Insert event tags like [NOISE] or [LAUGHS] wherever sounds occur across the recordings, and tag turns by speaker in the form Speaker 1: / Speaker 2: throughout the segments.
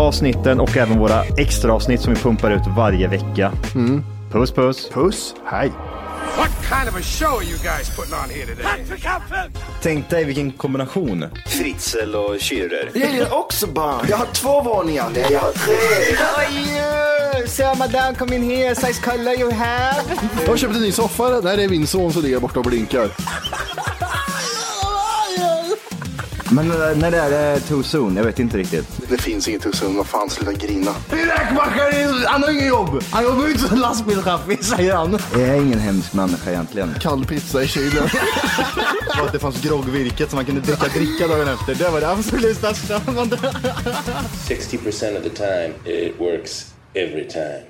Speaker 1: avsnitten och även våra extra avsnitt som vi pumpar ut varje vecka. Puss puss!
Speaker 2: Puss, hej.
Speaker 3: What kind of a show are you guys putting on here today?
Speaker 1: Tänk dig vilken kombination.
Speaker 4: Fritzl och Schürrer.
Speaker 5: Jag gillar också barn. Jag har två våningar. Nej, jag har tre.
Speaker 6: Sir, madame, come in here. Size color you have.
Speaker 2: Jag har köpt en ny soffa. Nej, det är min son som ligger borta och blinkar.
Speaker 1: Men eh, när det är eh, too soon? Jag vet inte riktigt.
Speaker 5: Det finns inget hus vad fan, sluta grina.
Speaker 2: Räkmackaren, han har inget jobb. Han jobbar ju inte som lastbilschaffis, säger han.
Speaker 1: Jag är ingen hemsk människa egentligen.
Speaker 2: Kall pizza i [LAUGHS] kylen.
Speaker 1: Och att det fanns groggvirket som man kunde dricka dricka dagen efter. Det var det absolut största.
Speaker 4: 60% of the time, it works every time.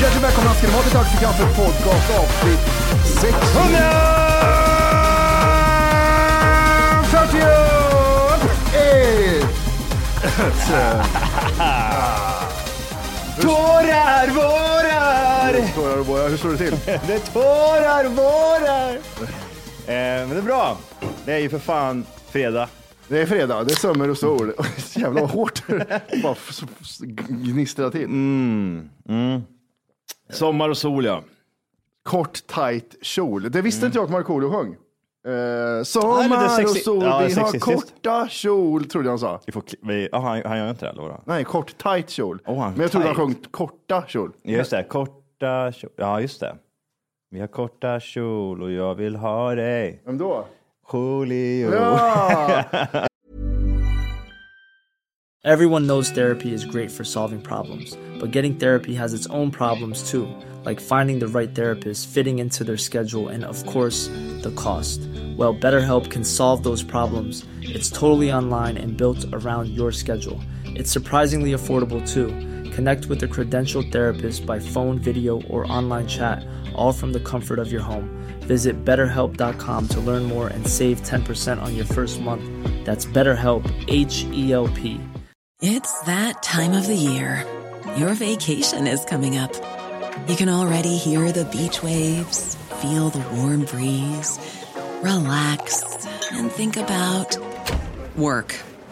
Speaker 2: Hjärtligt välkomna ska ni vara till Tack för kaffet podcast avsnitt 600! 41!
Speaker 1: Tårar vårar!
Speaker 2: Tårar och borrar, hur står det till?
Speaker 1: Det tårar vårar! Eh, men det är bra. Det är ju för fan fredag.
Speaker 2: Det är fredag, det är sömmer och sol. Jävlar vad hårt det bara f- f- gnistrar till. Mm.
Speaker 1: Sommar och sol ja.
Speaker 2: Kort, tight kjol. Det visste inte jag att Markoolio sjöng. Eh,
Speaker 1: Nej, det är
Speaker 2: sommar och
Speaker 1: sexi-
Speaker 2: sol,
Speaker 1: ja, det är
Speaker 2: vi har
Speaker 1: sexistiskt.
Speaker 2: korta kjol, trodde jag han sa.
Speaker 1: Vi får, kli- vi, aha, han, han gör inte det eller vadå?
Speaker 2: Nej, kort, tight kjol.
Speaker 1: Oh, han-
Speaker 2: Men jag trodde han
Speaker 1: tight.
Speaker 2: sjöng korta kjol.
Speaker 1: Ja, Just det, korta kjol. Ja, just det. Vi har korta kjol och jag vill ha dig.
Speaker 2: Vem då?
Speaker 1: Julio.
Speaker 2: Ja!
Speaker 7: Everyone knows therapy is great for solving problems, but getting therapy has its own problems too, like finding the right therapist, fitting into their schedule, and of course, the cost. Well, BetterHelp can solve those problems. It's totally online and built around your schedule. It's surprisingly affordable too. Connect with a credentialed therapist by phone, video, or online chat, all from the comfort of your home. Visit betterhelp.com to learn more and save 10% on your first month. That's BetterHelp, H E L P.
Speaker 8: It's that time of the year. Your vacation is coming up. You can already hear the beach waves, feel the warm breeze, relax, and think about work.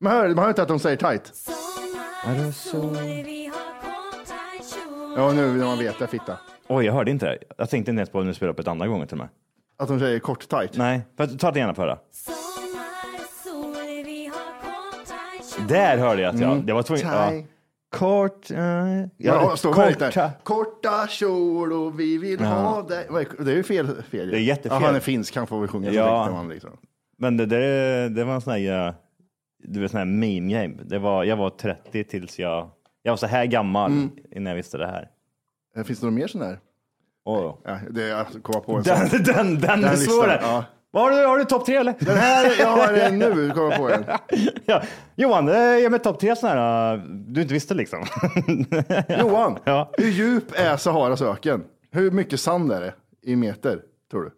Speaker 2: Man hör, man hör inte att de säger tight. Ja, nu när man vet det, fitta.
Speaker 1: Oj, jag hörde inte det. Jag tänkte inte ens på om du spelade upp ett andra gånger till mig.
Speaker 2: Att de säger kort tight.
Speaker 1: Nej, för, ta det gärna på höra. Där hörde jag att jag, det var tvungen. Ja.
Speaker 2: Tight.
Speaker 1: Kort, eh, ja,
Speaker 2: Ja, står det inte?
Speaker 1: korta.
Speaker 2: Korta kjol och vi vill ha dig. Vad är- Det är ju fel. fel ju.
Speaker 1: Det är jättefel.
Speaker 2: Ja, han är finsk, han får väl sjunga.
Speaker 1: Ja.
Speaker 2: Ja. Så tänkte man liksom.
Speaker 1: Men det, det, det var en sån här, eh, du vet, sån här meme game. Det var, jag var 30 tills jag, jag var så här gammal
Speaker 2: Mm.
Speaker 1: innan jag visste det här.
Speaker 2: Eh, Finns det något mer sån där?
Speaker 1: Oh.
Speaker 2: Ja, det är att komma på en sån.
Speaker 1: Den, [LAUGHS] den, den, är
Speaker 2: listan,
Speaker 1: svår.
Speaker 2: ja.
Speaker 1: Vad Har, du, har du topp tre eller?
Speaker 2: Den här, jag har den nu, komma på en.
Speaker 1: ja. Johan, eh, ge mig topp tre sådana här eh, du inte visste liksom. [LAUGHS]
Speaker 2: Johan,
Speaker 1: [LAUGHS] Ja.
Speaker 2: hur djup är Saharas öken? Hur mycket sand är det i meter, tror du?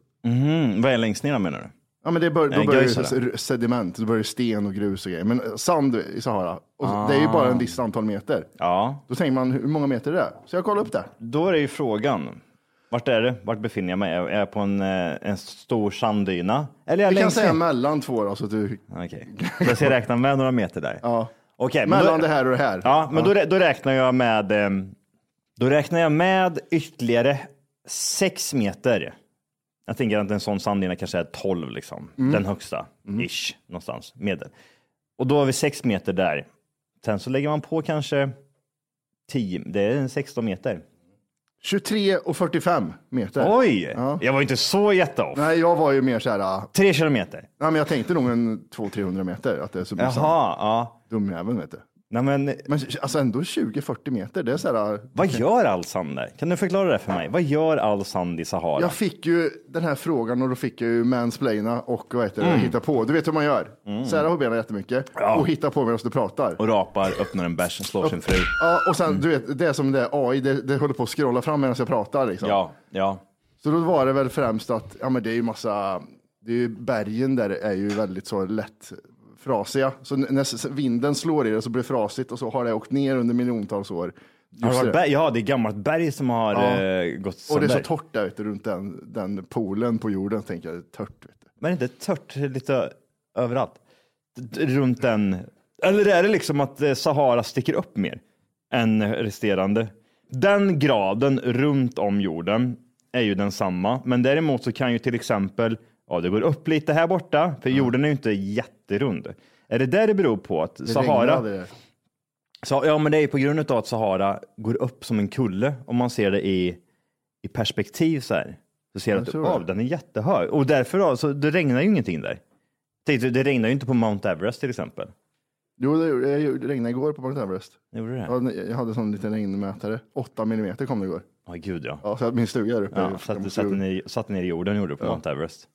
Speaker 1: Vad är längst ner menar du?
Speaker 2: Ja, men det bör,
Speaker 1: Nej,
Speaker 2: då börjar
Speaker 1: Gaisa
Speaker 2: ju s- sediment, då börjar det sten och grus och grejer. Men eh, sand i Sahara, och det är ju bara en viss antal meter.
Speaker 1: Ja,
Speaker 2: Då tänker man, hur många meter är det? Så jag kollar upp det.
Speaker 1: då är det ju frågan. Vart är det? Vart befinner jag mig? Är jag på en, eh, en stor sanddyna? Eller är jag
Speaker 2: Vi kan
Speaker 1: längst
Speaker 2: säga
Speaker 1: ner?
Speaker 2: mellan två då, så att du...
Speaker 1: Okej, så jag ska räkna med några meter där.
Speaker 2: Ja.
Speaker 1: Okej, men
Speaker 2: Mellan
Speaker 1: då,
Speaker 2: det här och det här.
Speaker 1: Ja, men Då, rä- då räknar jag med ehm, Då räknar jag med ytterligare sex meter. Jag tänker att en sån sanddyna kanske är 12 liksom.
Speaker 2: Mm.
Speaker 1: Den högsta, ish, någonstans, medel. Och då har vi sex meter där. Sen så lägger man på kanske 10, det är en 16 meter.
Speaker 2: 23 och 45 meter.
Speaker 1: Oj!
Speaker 2: Ja.
Speaker 1: Jag var inte så jätteoff.
Speaker 2: Nej, jag var ju mer så här, ah,
Speaker 1: Tre kilometer.
Speaker 2: nej, men jag tänkte nog en 200-300 meter, att det är så blir sant.
Speaker 1: Jaha, ja.
Speaker 2: Dumjäveln vet du.
Speaker 1: Nej, men eh,
Speaker 2: Men alltså ändå 20-40 meter, det är så här, ah,
Speaker 1: vad gör all sand där? Kan du förklara det för mig? Vad gör all sand i Sahara?
Speaker 2: Jag fick ju den här frågan och då fick jag ju mansplaina och vad heter det,
Speaker 1: Mm.
Speaker 2: hitta på. Du vet hur man gör. Sära på benen jättemycket och hitta på medan du pratar.
Speaker 1: Och rapar, öppnar en bärs, slår sin fru.
Speaker 2: Ja, och sen du vet, det är som det är AI, det, det håller på att scrolla fram medan jag pratar. Liksom.
Speaker 1: Ja, ja.
Speaker 2: Så då var det väl främst att, ja men det är ju massa, det är ju, bergen där är ju väldigt så lätt frasiga. Så n- när s- vinden slår i det så blir det frasigt och så har det åkt ner under miljontals år.
Speaker 1: Har det
Speaker 2: Just
Speaker 1: varit berg? Ja, det är gammalt berg som har
Speaker 2: Ja.
Speaker 1: eh, gått
Speaker 2: Och det är
Speaker 1: sönder.
Speaker 2: så torrt där ute runt den, den poolen på jorden, tänker jag. Det är Torrt. Vet du.
Speaker 1: Men inte tört lite ö- överallt? D- Runt den. Eller är det liksom att eh, Sahara sticker upp mer än resterande? Den graden runt om jorden är ju densamma, men däremot så kan ju till exempel, ja det går upp lite här borta, för jorden är ju inte jätterund. Är det där det beror på att Sahara,
Speaker 2: regnade där.
Speaker 1: Så, ja, men det är ju på grund av att Sahara går upp som en kulle. Om man ser det i, i perspektiv så här. Så ser
Speaker 2: tror
Speaker 1: du att
Speaker 2: det.
Speaker 1: oh, den är jättehög. Och därför då, så det regnar ju ingenting där. Tänk dig, Det regnar ju inte på Mount Everest till exempel.
Speaker 2: Jo, det, gjorde- jag gjorde- det regnade igår på Mount Everest.
Speaker 1: Gjorde det? Ja,
Speaker 2: Jag jag hade en sån liten regnmätare. 8 millimeter kom det igår.
Speaker 1: gud ja.
Speaker 2: Ja, så jag- min stuga är uppe.
Speaker 1: ja
Speaker 2: i-
Speaker 1: satt, satt, ner, satt ner i jorden gjorde du på Mount [LAUGHS] Everest.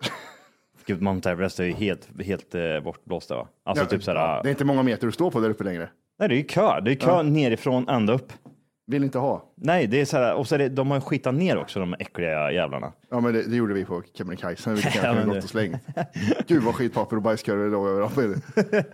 Speaker 1: gud, Mount Everest är ju helt, helt eh, bortblåst där va? Alltså typ så här,
Speaker 2: Det är inte många meter du står på där uppe längre.
Speaker 1: nej det är ju kö. Det är kö nerifrån ända upp.
Speaker 2: Vill inte ha.
Speaker 1: Nej, det är så här, och så är det, de har ju skitat ner också de äckliga jävlarna.
Speaker 2: Ja, men det, det gjorde vi på Kebnekaise.
Speaker 1: [LAUGHS]
Speaker 2: Vilket
Speaker 1: Ja,
Speaker 2: kanske
Speaker 1: men
Speaker 2: är
Speaker 1: det-
Speaker 2: gott och slängt. Gud vad skitpapper och bajskorvar det låg
Speaker 1: [LAUGHS]
Speaker 2: överallt.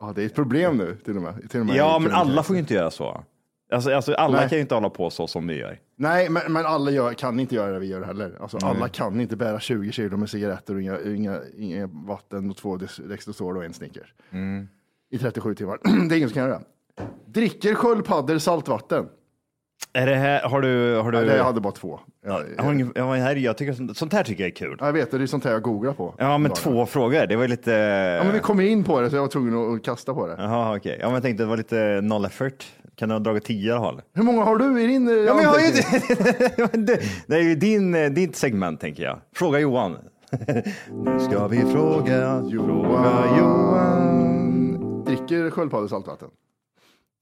Speaker 2: Ja, det är ett problem nu till och med. Till och med
Speaker 1: Ja,
Speaker 2: i
Speaker 1: men
Speaker 2: Kebnekaise.
Speaker 1: alla får ju inte göra så. Alltså, alltså, alla
Speaker 2: Nej.
Speaker 1: kan ju inte hålla på så som vi gör.
Speaker 2: Nej, men, men alla gör, kan inte göra det vi gör heller. Alltså, alla kan inte bära 20 kilo med cigaretter och inga, inga, inga vatten och två Dex- Dextrosol och en Snickers.
Speaker 1: Mm.
Speaker 2: I 37 timmar. [CLEARS THROAT] det är ingen som kan göra det. Dricker sköldpaddor saltvatten?
Speaker 1: Är det här, har du... Har du
Speaker 2: Nej, jag hade bara två. Jag,
Speaker 1: jag, har ingen, jag, var här, jag tycker sånt, sånt här tycker jag är kul.
Speaker 2: jag vet, det är sånt här jag googlar på.
Speaker 1: Ja, men
Speaker 2: Dagarna.
Speaker 1: två frågor. Det var lite...
Speaker 2: Ja, men vi kom ju in på det så jag var tvungen att kasta på det.
Speaker 1: Jaha, okej. Ja, men jag tänkte det var lite noll effort. Kan du ha dragit tio i alla fall?
Speaker 2: Hur många har du i din eh,
Speaker 1: Ja, men jag har ju
Speaker 2: anteckning?
Speaker 1: [LAUGHS] det, det, det är ju din, eh, ditt segment, tänker jag. Fråga Johan. [LAUGHS] nu ska vi fråga Fråga Johan.
Speaker 2: Dricker sköldpaddor saltvatten?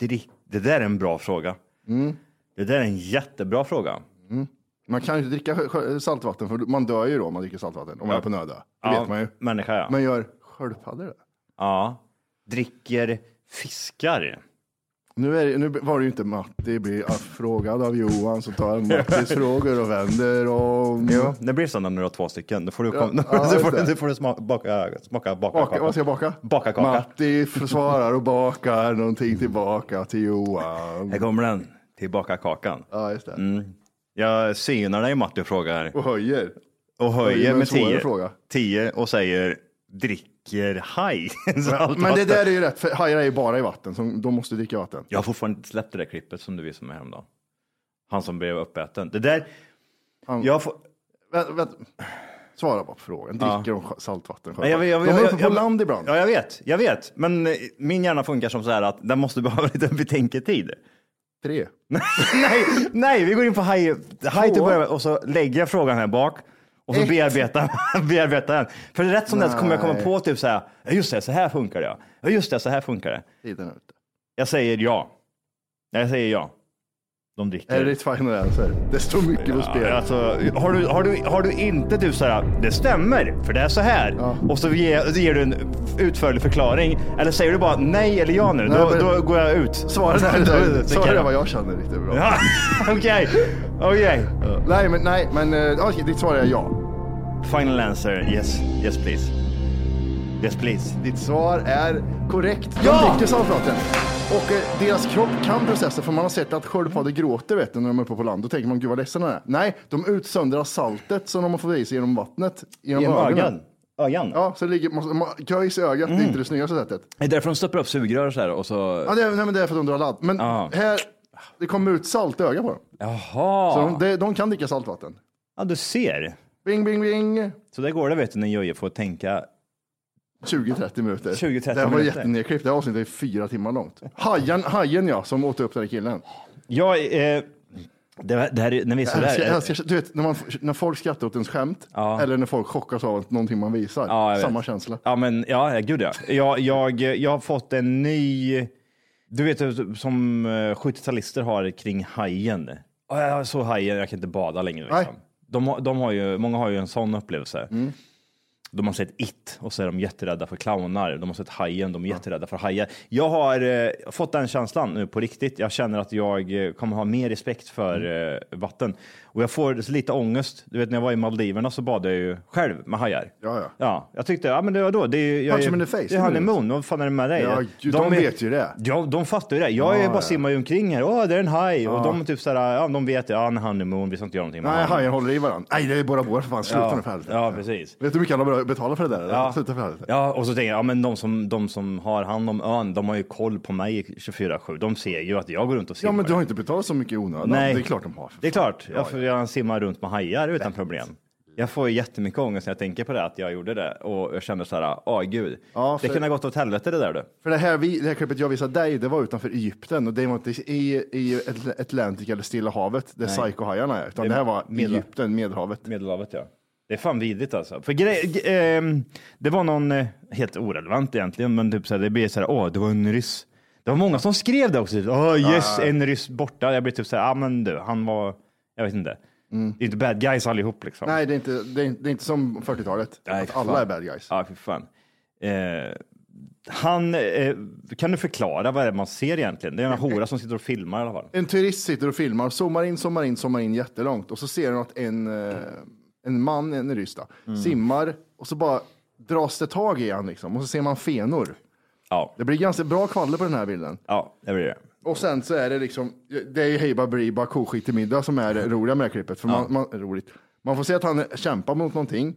Speaker 1: Drick. Det där är en bra fråga. Mm. Det där är en jättebra fråga.
Speaker 2: Man kan ju inte dricka sjö- sjö- saltvatten för man dör ju då om man dricker saltvatten. Om man är på nödö. Det vet man ju.
Speaker 1: Människa, ja.
Speaker 2: Men gör sköldpaddor det?
Speaker 1: Ja. Dricker fiskar.
Speaker 2: Nu, är, det- nu var det ju inte Matti blir frågad av Johan som tar
Speaker 1: [LAUGHS]
Speaker 2: Mattis frågor och vänder om.
Speaker 1: Jo, det blir så när du har två stycken. [LAUGHS] Då får du, kom,
Speaker 2: ja,
Speaker 1: så får,
Speaker 2: just det.
Speaker 1: du- då får du smaka, baka,
Speaker 2: Baka,
Speaker 1: smaka bakarkaka.
Speaker 2: vad ska jag baka?
Speaker 1: Baka kaka.
Speaker 2: Matti svarar och bakar någonting tillbaka till Johan.
Speaker 1: Här kommer den, till bakakakan.
Speaker 2: Ja, just det.
Speaker 1: Mm. Jag synar dig Matti och frågar
Speaker 2: Och höjer.
Speaker 1: och
Speaker 2: det är
Speaker 1: höjer
Speaker 2: en
Speaker 1: med
Speaker 2: svårare
Speaker 1: 10
Speaker 2: fråga.
Speaker 1: tio och säger dricker haj. [LAUGHS] Så allt
Speaker 2: Men det
Speaker 1: vatten.
Speaker 2: där är ju rätt, för hajar är ju bara i vatten, så de måste dricka vatten.
Speaker 1: Jag har fortfarande inte släppt det där klippet som du visade mig häromdagen. Han som blev uppäten. Det där, jag får,
Speaker 2: Vänt, vänt. Svara bara på frågan. Dricker de sj- saltvatten?
Speaker 1: Nej, jag- jag-
Speaker 2: de
Speaker 1: jag-
Speaker 2: är uppe
Speaker 1: jag-
Speaker 2: på
Speaker 1: jag-
Speaker 2: land ibland.
Speaker 1: Ja, jag vet, jag vet. Men eh, min hjärna funkar som så här att den måste [LAUGHS] behöva lite betänketid.
Speaker 2: Tre.
Speaker 1: nej, nej, vi går in på haj, haj till
Speaker 2: Två.
Speaker 1: början med och så lägger jag frågan här bak och så
Speaker 2: Ett.
Speaker 1: bearbetar, [LAUGHS] bearbetar den. För rätt som det är så kommer jag komma
Speaker 2: Nej.
Speaker 1: på typ så här, "Ja, just det, så här funkar det. ja. Ja, just det, så här funkar det.
Speaker 2: Tiden är ute.
Speaker 1: Jag säger ja. Jag säger ja. De dricker.
Speaker 2: Är det ditt final answer? Det står mycket på spel.
Speaker 1: Ja, Alltså, har, du, har, du, har du inte du så här, det stämmer, för det är så här, och så ger, ger du en utförlig förklaring, eller säger du bara nej eller ja nu, då,
Speaker 2: men-
Speaker 1: då går jag ut. Svara
Speaker 2: Svara [LAUGHS] där, svara där vad jag känner riktigt bra.
Speaker 1: [LAUGHS] Okej, okej.
Speaker 2: Nej, men, nej, men eh, okej, ditt svar är ja.
Speaker 1: Final answer. Yes. Yes, please. Yes, please.
Speaker 2: Ditt svar är korrekt. De
Speaker 1: Ja!
Speaker 2: dricker saltvatten. Och eh, deras kropp kan processa, för man har sett att sköldpaddor gråter vet du, när de är uppe på land. Då tänker man, gud vad ledsen de är. Nej, de utsöndrar saltet som de har fått i sig genom vattnet. Genom,
Speaker 1: Genom
Speaker 2: ögonen.
Speaker 1: ögon. Ögon?
Speaker 2: Ja, så det ligger, måste- ma- göjs i ögat, det är
Speaker 1: Mm.
Speaker 2: inte det snyggaste sättet.
Speaker 1: Det är därför de stoppar upp sugrör så här och så...
Speaker 2: Ja, det, är- nej, men det är för att de drar ladd. Men
Speaker 1: Ja.
Speaker 2: här, det kom ut salt i ögat på dem.
Speaker 1: Jaha!
Speaker 2: Så de, de, de kan dricka saltvatten.
Speaker 1: Ja, du ser.
Speaker 2: Bing, bing, bing.
Speaker 1: Så där går det vet du när Joje får tänka.
Speaker 2: 20-30 minuter.
Speaker 1: 20-30
Speaker 2: det här var
Speaker 1: minuter.
Speaker 2: jättenedklippt. Det här avsnittet är fyra timmar långt. Hajen, hajen ja, som åt upp den här killen.
Speaker 1: Jag, eh, det, var- det här är, när vi är
Speaker 2: Jag
Speaker 1: sådär.
Speaker 2: älskar, jag älskar, du vet, när, man, när folk skrattar åt ens skämt eller när folk chockas av någonting man visar.
Speaker 1: Ja, jag vet.
Speaker 2: Samma känsla.
Speaker 1: Ja, men ja, ja, gud ja. Jag, jag, jag har fått en ny, du vet som eh, 70-talister har kring hajen. Ja, Jag är så hajen, jag kan inte bada längre. Liksom.
Speaker 2: Nej.
Speaker 1: De, har- de har ju, många har ju en sån upplevelse. De har sett It och så är de jätterädda för clownar. De har sett Hajen, de är jätterädda för hajar. Jag har eh, fått den känslan nu på riktigt. Jag känner att jag eh, kommer ha mer respekt
Speaker 2: Mm.
Speaker 1: för eh, vatten. Och jag får lite ångest. Du vet när jag var i Maldiverna så badade jag ju själv med hajar.
Speaker 2: Ja, ja.
Speaker 1: Ja, jag tyckte, ja men det var då. Det är, ju- jag
Speaker 2: Punch
Speaker 1: är-
Speaker 2: them in the face,
Speaker 1: Det
Speaker 2: det
Speaker 1: är
Speaker 2: är
Speaker 1: honeymoon, vad fan är det med dig?
Speaker 2: Ja, gud, de vet ju det.
Speaker 1: Ja, de fattar ju det. Jag är bara simmar ju omkring här, åh, det är en haj. Och de typ såhär, ja de vet ju, ja en honeymoon, vi ska inte göra någonting med
Speaker 2: Nej,
Speaker 1: honom.
Speaker 2: hajen håller i varandra. Nej, det är bara vår för fan. Sluta nu för
Speaker 1: Ja,
Speaker 2: helvete.
Speaker 1: ja, precis.
Speaker 2: Vet du hur mycket han har betalat för det där? eller? [LAUGHS]
Speaker 1: Ja.
Speaker 2: Sluta för helvete.
Speaker 1: Ja, och så tänker jag, ja men de som, de som har hand om ön, de har ju koll på mig 24-7. De ser ju att jag går runt och simmar.
Speaker 2: Ja, men du har inte betalat så mycket i onödan.
Speaker 1: Nej.
Speaker 2: Det är klart de har. för
Speaker 1: Det är
Speaker 2: fan.
Speaker 1: klart,
Speaker 2: Ja,
Speaker 1: jag, får, jag simmar runt med hajar utan problem. Jag får ju jättemycket ångest när jag tänker på det, att jag gjorde det. Och jag känner såhär, åh "Ah, gud,
Speaker 2: Ja,
Speaker 1: det
Speaker 2: för-
Speaker 1: kunde ha gått åt helvete det där du.
Speaker 2: För det här, vi, det här klippet jag visade dig, det var utanför Egypten och det var inte i, i Atl- Atlantic eller Stilla havet där psykohajarna är, utan det, här var
Speaker 1: Medel-
Speaker 2: Egypten, Medelhavet.
Speaker 1: Medelhavet ja. Det är fan vidrigt alltså. För grej, g- ehm, det var någon, eh, helt orelevant egentligen, men typ så här, det blev så här, åh, det var en ryss. Det var många som skrev det också. typ, Åh yes, en ryss borta. Jag blev typ så här, ah, men du, han var, jag vet inte. Det är inte bad guys allihop liksom.
Speaker 2: Mm. Nej, det är inte, det är, det är inte som 40-talet,
Speaker 1: Nej,
Speaker 2: att
Speaker 1: för
Speaker 2: alla
Speaker 1: fan.
Speaker 2: är bad guys.
Speaker 1: Ja, för fan. Eh, han, eh, kan du förklara vad det är man ser egentligen? Det är en hora som sitter och filmar i alla fall.
Speaker 2: En turist sitter och filmar, zoomar in, zoomar in, zoomar in jättelångt och så ser han att en, eh, en man, en ryss då,
Speaker 1: Mm.
Speaker 2: simmar och så bara dras det tag i han liksom och så ser man fenor.
Speaker 1: Ja,
Speaker 2: Det blir ganska bra kvaller på den här bilden.
Speaker 1: ja, det blir det.
Speaker 2: Och sen så är det liksom, det är ju hej briba koskit i middag som är det roliga med det här klippet. För man, man, roligt. man får se att han kämpar mot någonting.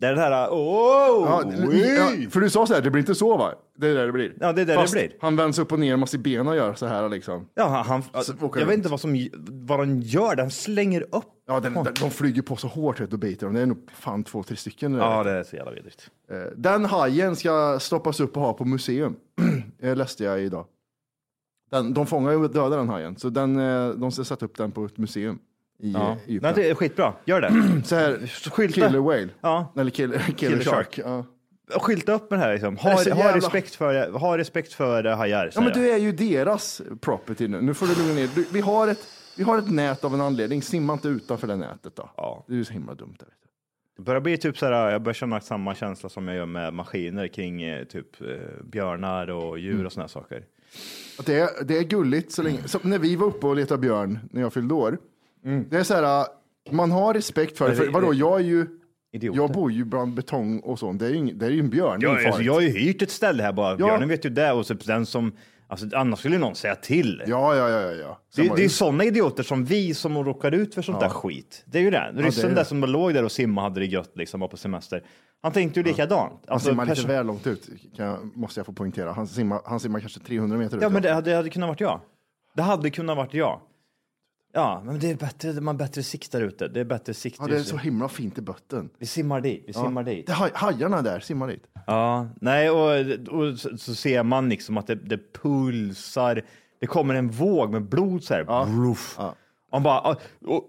Speaker 1: Det är det här, åh!
Speaker 2: Ja,
Speaker 1: oj!
Speaker 2: ja, för du sa så här, det blir inte så va? Det är det det blir.
Speaker 1: Ja, det är det det
Speaker 2: Fast
Speaker 1: blir.
Speaker 2: Han vänds upp och ner, man ser benen göra så här liksom.
Speaker 1: Ja, han, han,
Speaker 2: Så åker
Speaker 1: jag
Speaker 2: den
Speaker 1: vet
Speaker 2: ut.
Speaker 1: inte vad, som, vad de gör, den slänger upp.
Speaker 2: Ja, den, den, de flyger på så hårt vet, du, och biter dem. Det är nog fan två, tre stycken. där.
Speaker 1: Ja, det är så jävla vidrigt.
Speaker 2: Eh, Den hajen ska stoppas upp och ha på museum. [CLEARS THROAT] det läste jag idag. Den, de fångar ju och dödar den hajen, så den, eh, de ska sätta upp den på ett museum i
Speaker 1: Ja.
Speaker 2: ja.
Speaker 1: Mm. Nej, det är skitbra,
Speaker 2: [CLEARS THROAT]
Speaker 1: gör det.
Speaker 2: Så här,
Speaker 1: Skylta.
Speaker 2: killer whale.
Speaker 1: Ja.
Speaker 2: Eller killer, [LAUGHS] killer,
Speaker 1: Killer shark.
Speaker 2: shark. Ja.
Speaker 1: Skylta upp med det här liksom. Ha,
Speaker 2: Det är så
Speaker 1: ha,
Speaker 2: jävla-
Speaker 1: respekt, för, ha respekt för eh, hajar,
Speaker 2: ja, men
Speaker 1: säger jag.
Speaker 2: du är ju deras property nu. Nu får du lugna ner dig. Du- Vi har ett vi har ett nät av en anledning. Simma inte utanför det nätet då.
Speaker 1: Ja.
Speaker 2: Det är ju så himla dumt. Där, vet du.
Speaker 1: Det börjar bli typ så här, jag börjar känna samma känsla som jag gör med maskiner kring eh, typ eh, björnar och
Speaker 2: Mm.
Speaker 1: djur och såna här saker.
Speaker 2: Att det, är, det är gulligt så länge. Som när vi var uppe och letade björn när jag fyllde år. Det är så här, äh, man har respekt för det. För,
Speaker 1: Mm. Alltså, det-
Speaker 2: vadå, jag är ju...
Speaker 1: Idioter.
Speaker 2: Jag bor ju bland betong och sånt. Det är ju, ing- det är ju en björn. det är
Speaker 1: Jag,
Speaker 2: ju
Speaker 1: alltså,
Speaker 2: farligt.
Speaker 1: jag har ju hyrt ett ställe här bara, björnen vet ju det och typ den som, alltså, annars skulle ju någon säga till.
Speaker 2: Ja, ja, ja. ja, ja.
Speaker 1: Det,
Speaker 2: Samma-
Speaker 1: det är ju sådana idioter som vi som råkar ut för sånt där skit. Det är ju det. Ryssen
Speaker 2: det är det.
Speaker 1: där som låg där och simma hade det gött liksom, var på semester. Han tänkte ju likadant. Alltså,
Speaker 2: han simmar lite
Speaker 1: perso-
Speaker 2: väl långt ut, kan jag, måste jag få poängtera. Han simmar, han simmar kanske 300 meter ut.
Speaker 1: Ja, men det hade, det hade kunnat varit jag. Det hade kunnat varit jag. Ja, men det är bättre, man har bättre sikt där ute. Det är bättre sikt.
Speaker 2: ja, det är
Speaker 1: just
Speaker 2: så
Speaker 1: nu.
Speaker 2: himla fint i botten.
Speaker 1: Vi simmar dit, vi simmar dit.
Speaker 2: Det är haj, hajarna där, simmar dit.
Speaker 1: Ja, nej, och, och så, så ser man liksom att det, det pulsar. Det kommer en våg med blod så här. Bruff. Man bara, ah, och,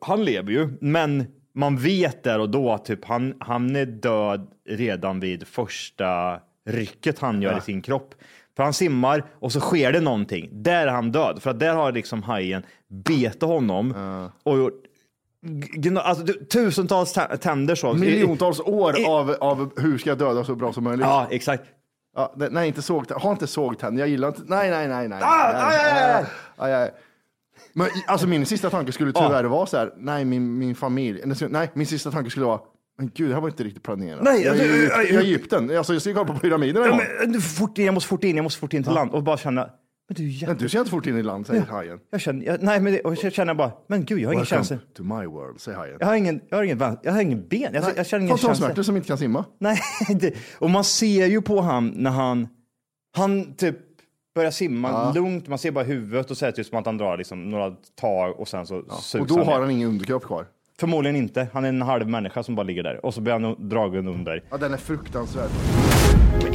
Speaker 1: han lever ju, men man vet där och då att typ han, han är död redan vid första rycket han gör i sin kropp. För han simmar och så sker det någonting. Där är han död, för att där har liksom hajen betat honom och gjort gna- alltså, du- tusentals tä- tänder så.
Speaker 2: Miljontals år av, av hur ska jag döda så bra som möjligt.
Speaker 1: Ja, exakt.
Speaker 2: Ja, det- nej, inte sågtänder. Ha inte sågtänder. Jag gillar inte. Nej, nej, nej, nej.
Speaker 1: Ah,
Speaker 2: nej,
Speaker 1: aj, aj, aj. Ah.
Speaker 2: aj, aj. Men i- alltså min sista tanke skulle tyvärr vara så här. Nej, min, min familj. Eller, så- Nej, min sista tanke skulle vara. Men gud, det här var inte riktigt planerat.
Speaker 1: Nej,
Speaker 2: jag,
Speaker 1: alltså,
Speaker 2: är i-
Speaker 1: jag-
Speaker 2: jag, är i Egypten. Alltså, jag ska ju kolla på pyramiderna
Speaker 1: Ja,
Speaker 2: imorgon.
Speaker 1: men, du, fort in, jag måste fort in, jag måste fort in till land. Och bara känna, men du,
Speaker 2: Men
Speaker 1: jag,
Speaker 2: du ser inte fort in i land, säger hajen.
Speaker 1: jag känner, jag, nej men det, och så känner jag bara, men gud, jag har ingen chans.
Speaker 2: Welcome to my world, säger hajen.
Speaker 1: Jag har ingen, jag har ingen, van- jag har ingen ben, jag, jag känner ingen chans.
Speaker 2: Fantomsmärtor som inte kan simma.
Speaker 1: Nej, [LAUGHS] det, och man ser ju på han när han, han typ börjar simma lugnt, man ser bara huvudet och så är det typ som att han drar liksom några tag och sen så susar
Speaker 2: Och då har
Speaker 1: ner.
Speaker 2: han ingen underkropp kvar.
Speaker 1: Förmodligen inte, han är en halv människa som bara ligger där och så blir han dragen under.
Speaker 2: Ja, den är fruktansvärd. Men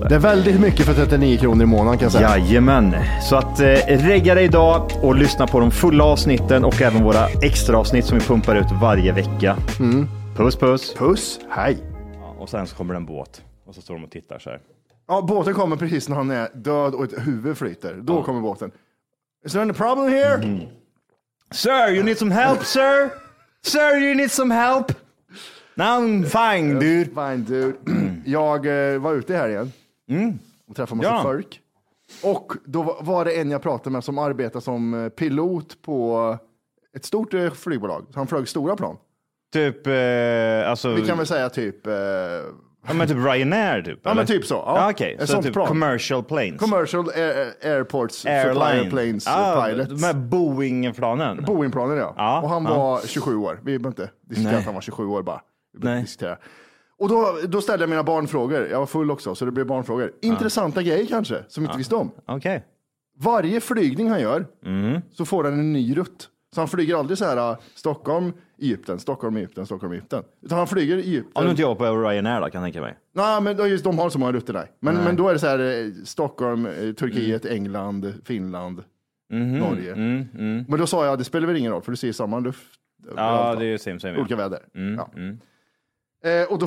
Speaker 1: det.
Speaker 2: Det är väldigt mycket för 39 kronor i månaden kan jag säga.
Speaker 1: Jajamän, så att eh, regga dig idag och lyssna på de fulla avsnitten och även våra extra avsnitt som vi pumpar ut varje vecka.
Speaker 2: Mm.
Speaker 1: Puss puss!
Speaker 2: Puss, hej.
Speaker 1: Och sen så kommer en båt och så står de och tittar så här.
Speaker 2: Ja, båten kommer precis när han är död och ett huvud flyter. Då kommer båten. Is there any problem here?
Speaker 1: Sir, you need some help, sir? Sir, you need some help? No, I'm fine, dude.
Speaker 2: Fine dude. [CLEARS THROAT] Jag eh, var ute här igen och träffade massa
Speaker 1: Ja.
Speaker 2: folk. Och då va- var det en jag pratade med som arbetar som eh, pilot på ett stort eh, flygbolag. Så Han flög stora plan.
Speaker 1: Typ, eh, alltså,
Speaker 2: Vi kan väl säga typ eh,
Speaker 1: ja, men typ Ryanair typ?
Speaker 2: men typ så, ja.
Speaker 1: Okej,
Speaker 2: Ett
Speaker 1: så
Speaker 2: sånt
Speaker 1: typ
Speaker 2: plan.
Speaker 1: commercial planes?
Speaker 2: commercial air, airports, supplier planes,
Speaker 1: ah,
Speaker 2: eh, pilots.
Speaker 1: De här Boeing-planen?
Speaker 2: Boeing-planen ja.
Speaker 1: Ja,
Speaker 2: Och han
Speaker 1: ja.
Speaker 2: var 27 år. Vi behöver inte diskutera
Speaker 1: Nej.
Speaker 2: att han var 27 år bara. Vi behöver
Speaker 1: Nej.
Speaker 2: inte Diskutera. Och då, då ställde jag mina barnfrågor. Jag var full också, så det blev barnfrågor. Intressanta grejer kanske, som vi inte visste om.
Speaker 1: Okej.
Speaker 2: Varje flygning han gör
Speaker 1: Mm.
Speaker 2: så får han en ny rutt. Så han flyger aldrig så här äh, Stockholm, Egypten, Stockholm, Egypten, Stockholm, Egypten. Utan han flyger
Speaker 1: Om
Speaker 2: Egypten.
Speaker 1: du inte jobbar på Ryanair då, kan jag tänka mig.
Speaker 2: Nej, men då- just de har så många rutter där. Men, men då är det så här eh, Stockholm, eh, Turkiet,
Speaker 1: Mm.
Speaker 2: England, Finland,
Speaker 1: Mm-hmm,
Speaker 2: Norge. Men då sa jag, det spelar väl ingen roll för du ser samma luft.
Speaker 1: Ja,
Speaker 2: överallt,
Speaker 1: det är
Speaker 2: va?
Speaker 1: ju same same.
Speaker 2: Olika
Speaker 1: ja. Mm,
Speaker 2: väder. Ja. Eh, och då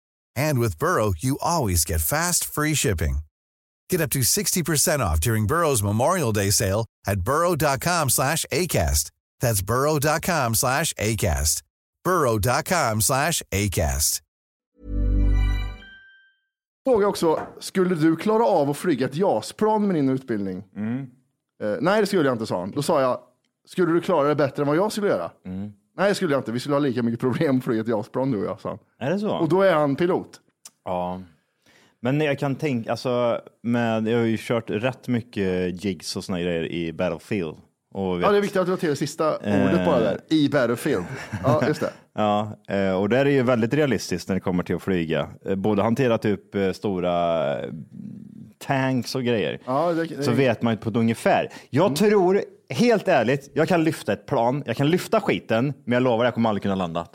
Speaker 9: And with Burrow, you always get fast, free shipping. Get up to 60% off during Burrow's Memorial Day sale at burrow.com slash ACAST. That's burrow.com slash ACAST. burrow.com slash ACAST.
Speaker 2: frågade jag också, skulle du klara av att flyga ett JAS-plan med din utbildning?
Speaker 1: Mm.
Speaker 2: Eh, nej, det skulle jag inte, sa han. Då sa jag, skulle du klara det bättre än vad jag skulle göra?
Speaker 1: Mm.
Speaker 2: Nej, det skulle jag inte. Vi skulle ha lika mycket problem att flyga ett JAS-plan du och jag, sa han.
Speaker 1: Är det så?
Speaker 2: Och då är han pilot.
Speaker 1: Ja. Men jag kan tänka, alltså, med, jag har ju kört rätt mycket jigs och såna grejer i Battlefield. Och vet,
Speaker 2: Ja, det är viktigt att du har till det sista ordet bara där. I Battlefield.
Speaker 1: [LAUGHS]
Speaker 2: Ja, just det.
Speaker 1: Ja, eh, och där är det ju väldigt realistiskt när det kommer till att flyga. Eh, Både hantera typ eh, stora eh, tanks och grejer.
Speaker 2: Ja, det- Mm. det-
Speaker 1: Så vet man ju på ett ungefär. Jag tror, helt ärligt, jag kan lyfta ett plan. Jag kan lyfta skiten, men jag lovar jag kommer aldrig kunna landa.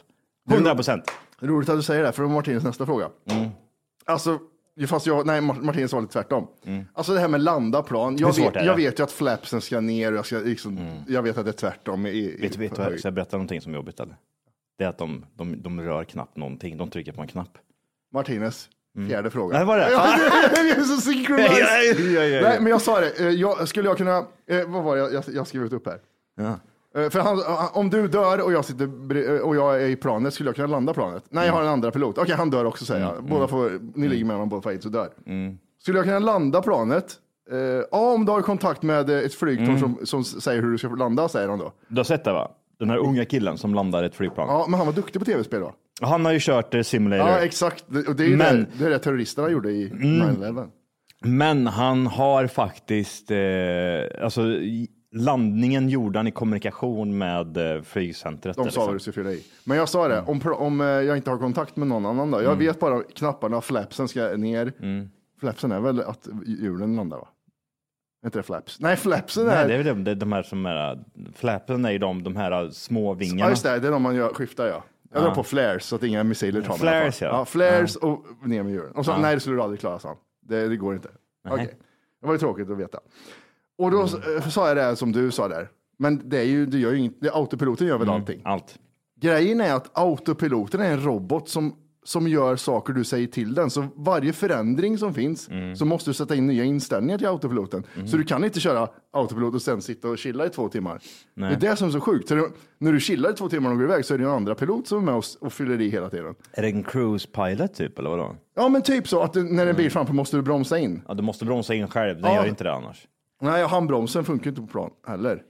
Speaker 1: 100 procent.
Speaker 2: Roligt att du säger det, för det var Martinus nästa fråga.
Speaker 1: Mm.
Speaker 2: Alltså, ju fast jag, nej, Mart- Martinus var lite tvärtom. Alltså det här med landa plan. Jag,
Speaker 1: Hur svårt
Speaker 2: vet,
Speaker 1: är Mm. det?
Speaker 2: jag vet ju att flapsen ska ner och jag, ska, liksom, jag vet att det är tvärtom. I, i,
Speaker 1: Vet, vet
Speaker 2: på
Speaker 1: du vad,
Speaker 2: höjd.
Speaker 1: ska jag berätta någonting som är jobbigt eller? Det är att de, de, de rör knappt någonting. De trycker på en knapp.
Speaker 2: Martinez, fjärde fråga.
Speaker 1: Mm. Nej, var
Speaker 2: [LAUGHS]
Speaker 1: det? Ah.
Speaker 2: Ja, det är så synchronized.
Speaker 1: [LAUGHS] Ja, ja, ja, ja, ja.
Speaker 2: Nej, men jag sa det, Eh, jag, skulle jag kunna, eh, vad var det jag, jag skrev upp här? Eh, För han, han- om du dör och jag, sitter, br- och jag är i planet, skulle jag kunna landa planet? Nej, jag har en andra pilot. Okej, han dör också säger jag. Båda får, ni ligger med honom, båda får aids och dör. Skulle jag kunna landa planet? Eh, Ja, om du har kontakt med eh, ett flygplan som, som säger hur du ska landa, säger han då.
Speaker 1: Du har sett det va? Den här unga killen som landar ett flygplan.
Speaker 2: Ja, men han var duktig på tv-spel då.
Speaker 1: Han har ju kört eh, Simulator.
Speaker 2: Ja, exakt. Det- Och det är ju
Speaker 1: Men-
Speaker 2: det, det, är det terroristerna gjorde i 9-11.
Speaker 1: Men han har faktiskt, eh, alltså i- landningen gjorde han i kommunikation med eh, flygcentret. liksom.
Speaker 2: De sa vad du skulle fylla i. Men jag sa det,
Speaker 1: Mm.
Speaker 2: om, pro- om eh, jag inte har kontakt med någon annan då. Jag vet bara knapparna, flapsen ska ner.
Speaker 1: Mm.
Speaker 2: Flapsen är väl att hjulen landar va? Är inte det flaps? Nej, flapsen är...
Speaker 1: Nej, det är väl de, det är de här som är, flappen är ju de, de här eh, små vingarna.
Speaker 2: Ja, just det, det är de man gör, skiftar ja. Jag
Speaker 1: Ja.
Speaker 2: drar på flares så att inga missiler tar mig. i alla
Speaker 1: Flares,
Speaker 2: fall.
Speaker 1: ja.
Speaker 2: ja. Flares och ner med hjulen. Och så,
Speaker 1: Ja.
Speaker 2: nej det skulle du aldrig klara, sa han. Det, det går inte.
Speaker 1: Nej. Mm.
Speaker 2: Okej, det var ju tråkigt att veta. Och då eh, sa jag det här som du sa där. Men det är ju, det gör ju inget, det, autopiloten gör väl
Speaker 1: Mm.
Speaker 2: allting?
Speaker 1: Allt.
Speaker 2: Grejen är att autopiloten är en robot som, som gör saker du säger till den. Så varje förändring som finns
Speaker 1: Mm.
Speaker 2: så måste du sätta in nya inställningar till autopiloten. Så du kan inte köra autopilot och sen sitta och chilla i två timmar.
Speaker 1: Nej.
Speaker 2: Det är det som är så sjukt. Så det, när du chillar i två timmar och går iväg så är det ju en andra pilot som är med och, s- och fyller i hela tiden.
Speaker 1: Är det en cruise pilot typ eller vadå?
Speaker 2: Ja men typ så att det, när
Speaker 1: Mm.
Speaker 2: en bil framför måste du bromsa in.
Speaker 1: Ja, du måste bromsa in själv, den
Speaker 2: Ja.
Speaker 1: gör ju inte det annars.
Speaker 2: Nej, handbromsen funkar ju inte på plan heller.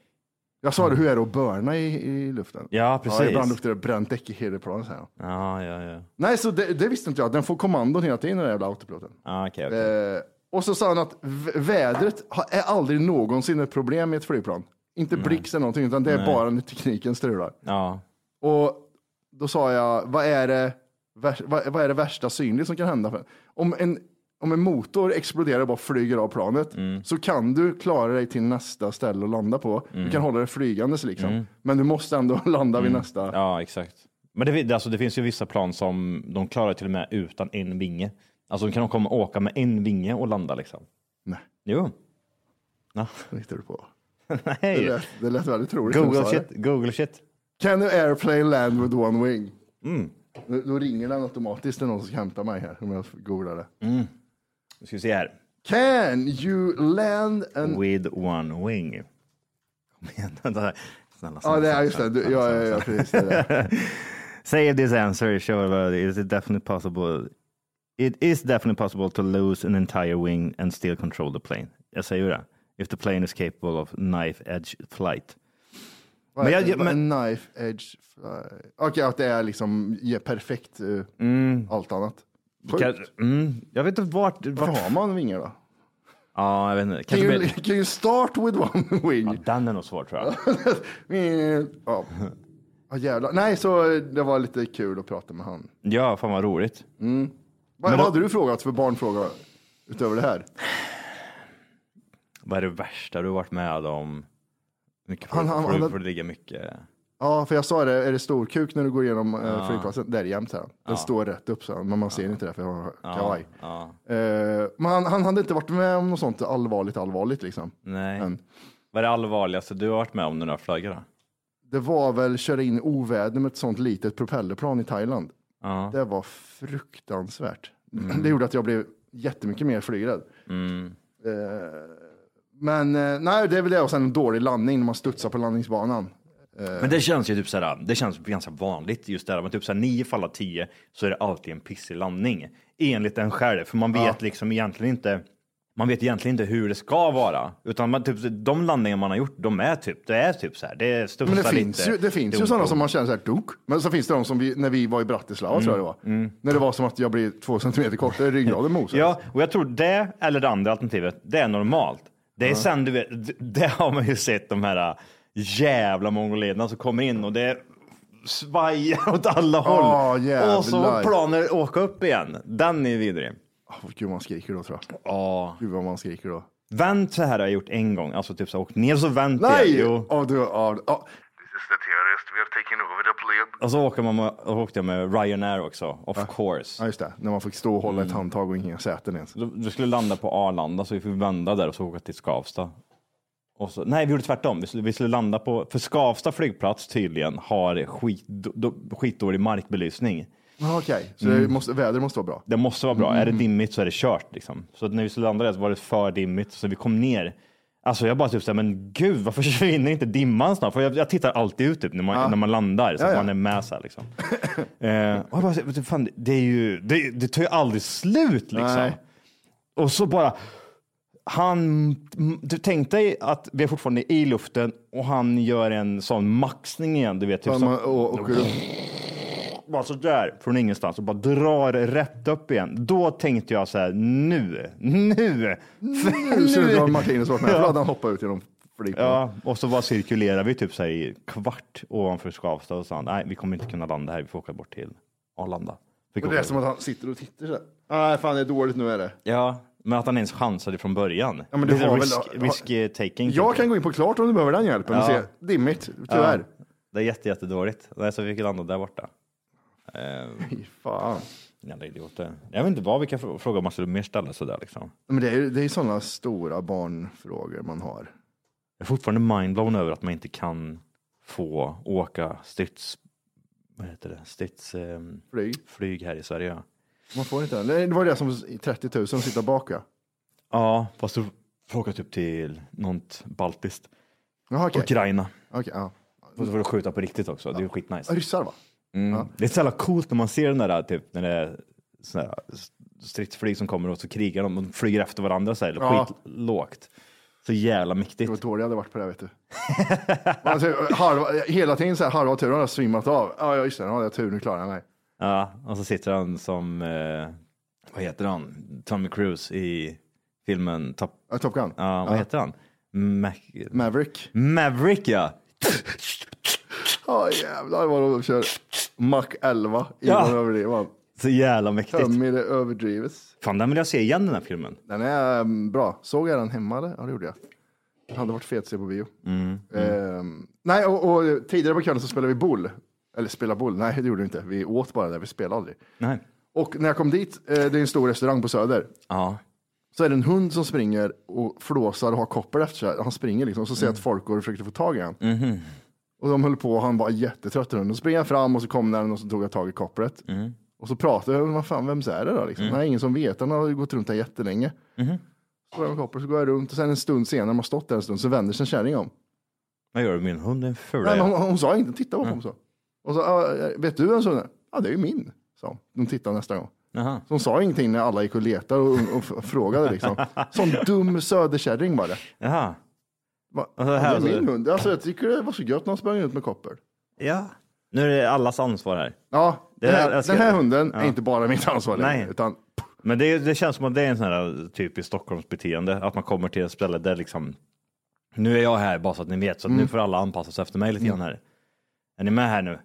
Speaker 2: Jag sa det, hur är det att burna i, i luften?
Speaker 1: Mm. Ja, precis.
Speaker 2: Ja, ibland luktar det bränt däck i hela planet. Så här.
Speaker 1: Ja, ja, ja.
Speaker 2: Nej, så det, det visste inte jag. Den får kommandon hela tiden, den där jävla autopiloten.
Speaker 1: Ah, okej, okej.
Speaker 2: Eh, och så sa han att v- vädret har- är aldrig någonsin ett problem i ett flygplan. Inte blixt eller någonting, utan det är
Speaker 1: Nej.
Speaker 2: bara när tekniken strular.
Speaker 1: Ja.
Speaker 2: Och då sa jag, vad är det, värs- vad, vad är det värsta synligt som kan hända? För? Om, en, om en motor exploderar och bara flyger av planet
Speaker 1: Mm.
Speaker 2: så kan du klara dig till nästa ställe att landa på.
Speaker 1: Mm.
Speaker 2: Du kan hålla dig flygandes liksom. Men du måste ändå [LAUGHS] landa vid nästa.
Speaker 1: ja, exakt. Men det, vi- alltså, det finns ju vissa plan som de klarar till och med utan en vinge. Alltså de kan komma och åka med en vinge och landa liksom.
Speaker 2: Nej.
Speaker 1: Jo. Ja.
Speaker 2: Vad hittar du på? Det
Speaker 1: [LAUGHS] Nej.
Speaker 2: lät, det lät väldigt troligt. när du
Speaker 1: Google
Speaker 2: sa
Speaker 1: shit,
Speaker 2: det.
Speaker 1: Google shit.
Speaker 2: Can you airplane land with one wing?
Speaker 1: Mm.
Speaker 2: Då, då ringer den automatiskt när någon som ska hämta mig här. Om jag googlar det.
Speaker 1: Nu ska vi se här.
Speaker 2: Can you land an...
Speaker 1: With one wing. Kom igen. [LAUGHS] Snälla, snälla,
Speaker 2: Ja, det är
Speaker 1: snälla,
Speaker 2: just det.
Speaker 1: snälla,
Speaker 2: Du,
Speaker 1: snälla,
Speaker 2: ja, ja, ja,
Speaker 1: snälla, snälla.
Speaker 2: precis. Det är det.
Speaker 1: Say this answer, sure, but is it definitely possible? It is definitely possible to lose an entire wing and still control the plane. Jag säger ju det. If the plane is capable of knife edge flight.
Speaker 2: Men
Speaker 1: [LAUGHS] Men jag- jag- men-
Speaker 2: Knife edge fly. Okej, att det är liksom ja, perfekt eh, allt annat. Sjukt.
Speaker 1: Mm. Kan- Mm, jag vet inte vart...
Speaker 2: Varför
Speaker 1: vart
Speaker 2: har man vingar då?
Speaker 1: ja, jag vet inte.
Speaker 2: Can
Speaker 1: Kanske
Speaker 2: you,
Speaker 1: blir,
Speaker 2: can you start with one [LAUGHS]
Speaker 1: ja,
Speaker 2: wing?
Speaker 1: den är nog svår tror jag.
Speaker 2: [LAUGHS] Eh, ja. Ah, jävlar. Nej, så eh, det var lite kul att prata med han.
Speaker 1: Ja, fan vad roligt.
Speaker 2: Vad,
Speaker 1: Men
Speaker 2: vad
Speaker 1: då-
Speaker 2: hade du frågat för barnfråga utöver det här?
Speaker 1: Vad är det värsta du har varit med om? Mycket får,
Speaker 2: Han- han-
Speaker 1: får,
Speaker 2: han-
Speaker 1: får det ligga mycket.
Speaker 2: Ja, för jag sa det, är det storkuk när du går igenom eh, flygplatsen? Det är det jämt, sa han. Den står rätt upp, sa han, men man ser inte det för jag har kavaj.
Speaker 1: Ja,
Speaker 2: Eh, men han, han hade inte varit med om något sånt allvarligt, allvarligt liksom.
Speaker 1: nej.
Speaker 2: Men- Eh.
Speaker 1: Vad är det allvarligaste du har varit med om när du har flugit då?
Speaker 2: Det var väl köra in i oväder med ett sånt litet propellerplan i Thailand.
Speaker 1: Ja. Mm.
Speaker 2: Det var fruktansvärt. [CLEARS THROAT] Det gjorde att jag blev jättemycket mer flygrädd. Eh, Men eh, nej, det är väl det och sen en dålig landning när man studsar på landningsbanan.
Speaker 1: Men det känns ju typ såhär, det känns ganska vanligt just där. Men typ såhär nio fall av tio så är det alltid en pissig landning. Enligt en själv, för man vet liksom egentligen inte. Man vet egentligen inte hur det ska vara, utan man, typ, de landningar man har gjort, de är typ, det är typ så här. Det studsar
Speaker 2: Men det
Speaker 1: lite.
Speaker 2: finns ju, det finns ju
Speaker 1: dunk,
Speaker 2: sådana
Speaker 1: dunk.
Speaker 2: som man känner så här dunk. Men så finns det de som vi, när vi var i Bratislava tror jag det var. När det var som att jag blev två centimeter kortare, ryggraden mosades.
Speaker 1: Ja, och jag tror det eller det andra alternativet, det är normalt. Det är sen du vet, [LAUGHS] d- det har man ju sett de här äh, jävla mongolerna som kommer in och det svajar [LAUGHS] åt alla håll.
Speaker 2: jävlar.
Speaker 1: och så var planer åka upp igen. Den är vidrig.
Speaker 2: Åh, gud Ah, man skriker då tror jag.
Speaker 1: Oh.
Speaker 2: Gud vad man skriker då.
Speaker 1: Vänt så här har jag gjort en gång, alltså typ så här, åkt ner så vänt
Speaker 2: Nej!
Speaker 1: igen. Jo.
Speaker 2: Ja, du, ja, ja.
Speaker 1: Och så åker man med, och åkte jag med Ryanair också, of course.
Speaker 2: ja, just det. När man fick stå och hålla ett handtag och inga säten ens.
Speaker 1: Du, du skulle landa på Arlanda så vi fick vända där och så åka till Skavsta. Och så, nej, vi gjorde tvärtom. Vi skulle, vi skulle landa på, för Skavsta flygplats tydligen har skit, då, skitdålig markbelysning.
Speaker 2: Ja, Ah, Okej, så det måste, vädret måste vara bra.
Speaker 1: Det måste vara bra. Är
Speaker 2: Mm.
Speaker 1: det dimmigt så är det kört. Liksom. Så att när vi skulle landa där så var det för dimmigt så vi kom ner. Alltså jag bara typ såhär, men gud varför [LAUGHS] försvinner inte dimman snart? För jag, jag tittar alltid ut typ, när, man, när man landar så
Speaker 2: Ja,
Speaker 1: att
Speaker 2: ja.
Speaker 1: man är med så
Speaker 2: [LAUGHS]
Speaker 1: här, liksom. eh, och jag bara, men fan, det, är ju, det, det tar ju aldrig slut liksom.
Speaker 2: Nej.
Speaker 1: Och så bara, han, du tänk dig att vi är fortfarande i luften och han gör en sån maxning igen. Du vet, typ
Speaker 2: Ja,
Speaker 1: som,
Speaker 2: man- och- och-
Speaker 1: bara sådär från ingenstans och bara drar rätt upp igen. Då tänkte jag så här, nu, [LAUGHS] nu.
Speaker 2: Nu ser det ut som att Martinez varit med. Då hade han hoppat ut genom flygplanet.
Speaker 1: Ja, och så bara cirkulerar vi typ så här i kvart ovanför Skavsta och sa nej, vi kommer inte kunna landa här. Vi får åka bort till Arlanda. Fick
Speaker 2: Och det
Speaker 1: åka
Speaker 2: är som att han sitter och tittar sådär. Nej, fan det är dåligt nu är det.
Speaker 1: Ja, men att han ens chansade från början.
Speaker 2: Ja, men det
Speaker 1: Lite
Speaker 2: var väl-
Speaker 1: risk,
Speaker 2: har-
Speaker 1: risk eh, taking.
Speaker 2: Jag kan gå in på klart om du behöver den hjälpen och
Speaker 1: Ja.
Speaker 2: se. Dimmigt, tyvärr.
Speaker 1: Ja, det är jätte, jättedåligt. Nej, så vi fick landa där borta. Fy
Speaker 2: fan.
Speaker 1: Jävla idioter. Jag vet inte vad vi kan frå- fråga om man skulle mer ställa sådär liksom.
Speaker 2: Men det är ju det är sådana stora barnfrågor man har.
Speaker 1: Jag är fortfarande mindblown över att man inte kan få åka strids... Vad heter det? Strids... ehm,
Speaker 2: flyg.
Speaker 1: här i Sverige. ja.
Speaker 2: Man får inte den. Det var det som 30 000 sitter bak ja.
Speaker 1: Ja, fast du får åka typ till något baltiskt.
Speaker 2: Jaha, okej.
Speaker 1: Ukraina.
Speaker 2: Okej, ja.
Speaker 1: Och så får du skjuta på riktigt också. Det är ju skitnice.
Speaker 2: Ryssar va?
Speaker 1: Mm. Det är så jävla coolt när man ser den där, typ, när det är såna här stridsflyg som kommer och så krigar de. De flyger efter varandra så här,
Speaker 2: Ja.
Speaker 1: skitlågt. Så jävla mäktigt.
Speaker 2: Vad dålig jag hade varit på det här,
Speaker 1: [LAUGHS]
Speaker 2: vet du. Man, ser halva, hela tiden så här, halva turen har svimmat av. Ja, just det, nu hade jag tur, nu klarar jag mig.
Speaker 1: Ja, och så sitter han som, eh, vad heter han, Tommy Cruise i filmen Top,
Speaker 2: Ja, Top Gun.
Speaker 1: Ja, vad
Speaker 2: Ja.
Speaker 1: heter han? Mac-
Speaker 2: Maverick.
Speaker 1: Maverick ja!
Speaker 2: Ja, jävlar vad de kör. Mac 11 i
Speaker 1: Ja.
Speaker 2: ja. överdrivan.
Speaker 1: Så jävla mäktigt.
Speaker 2: Tömmig det överdrives.
Speaker 1: Fan, den vill jag se igen den här filmen.
Speaker 2: Den är um, bra. Såg jag den hemma eller? Ja, det gjorde jag. Det hade varit fet att se på bio. Ehm, nej, och, och tidigare på kvällen så spelade vi boll. Eller spela boll, nej det gjorde vi inte. Vi åt bara där, vi spelade aldrig.
Speaker 1: Nej.
Speaker 2: Och när jag kom dit, eh, det är en stor restaurang på Söder,
Speaker 1: Ja.
Speaker 2: så är det en hund som springer och flåsar och har koppel efter sig. Han springer liksom, så ser jag att folk går och försöker få tag i honom. Och de höll på och han var jättetrött. Och så springer jag fram och så kom den och så tog jag tag i kopplet. Och så pratade jag, vad fan, vem är det då? Liksom? Det är ingen som vet, han har ju gått runt där jättelänge. Så går jag med kopplet, så går jag runt och sen en stund senare, när man har stått där en stund, så vänder sig en kärring om.
Speaker 1: Vad gör du med en hund? Den fula
Speaker 2: Nej, men
Speaker 1: jäveln.
Speaker 2: hon, hon sa inte, titta vad hon sa. Och så, "Ja, vet du vem som är det?" Ja, det är ju min, sa hon. De tittar nästa gång.
Speaker 1: Jaha.
Speaker 2: Så hon sa ingenting när alla gick och letade och, och, f- frågade liksom. Sån dum söderkärring var det.
Speaker 1: Jaha.
Speaker 2: Va,
Speaker 1: Och så här
Speaker 2: "Ja, det är
Speaker 1: så-
Speaker 2: min hund. Alltså, jag tycker det var så gött när hon sprang ut med koppel.
Speaker 1: Ja. Nu är det allas ansvar här.
Speaker 2: Ja,
Speaker 1: Det
Speaker 2: den
Speaker 1: här-
Speaker 2: här,
Speaker 1: jag ska-
Speaker 2: den här hunden
Speaker 1: Ja.
Speaker 2: är inte bara mitt ansvar längre,
Speaker 1: Nej.
Speaker 2: utan
Speaker 1: Men det, det känns som att det är en sån här typisk Stockholmsbeteende, att man kommer till ett ställe där liksom, nu är jag här bara så att ni vet, så att
Speaker 2: Mm.
Speaker 1: nu får alla anpassa sig efter mig lite grann här. Är ni med här nu?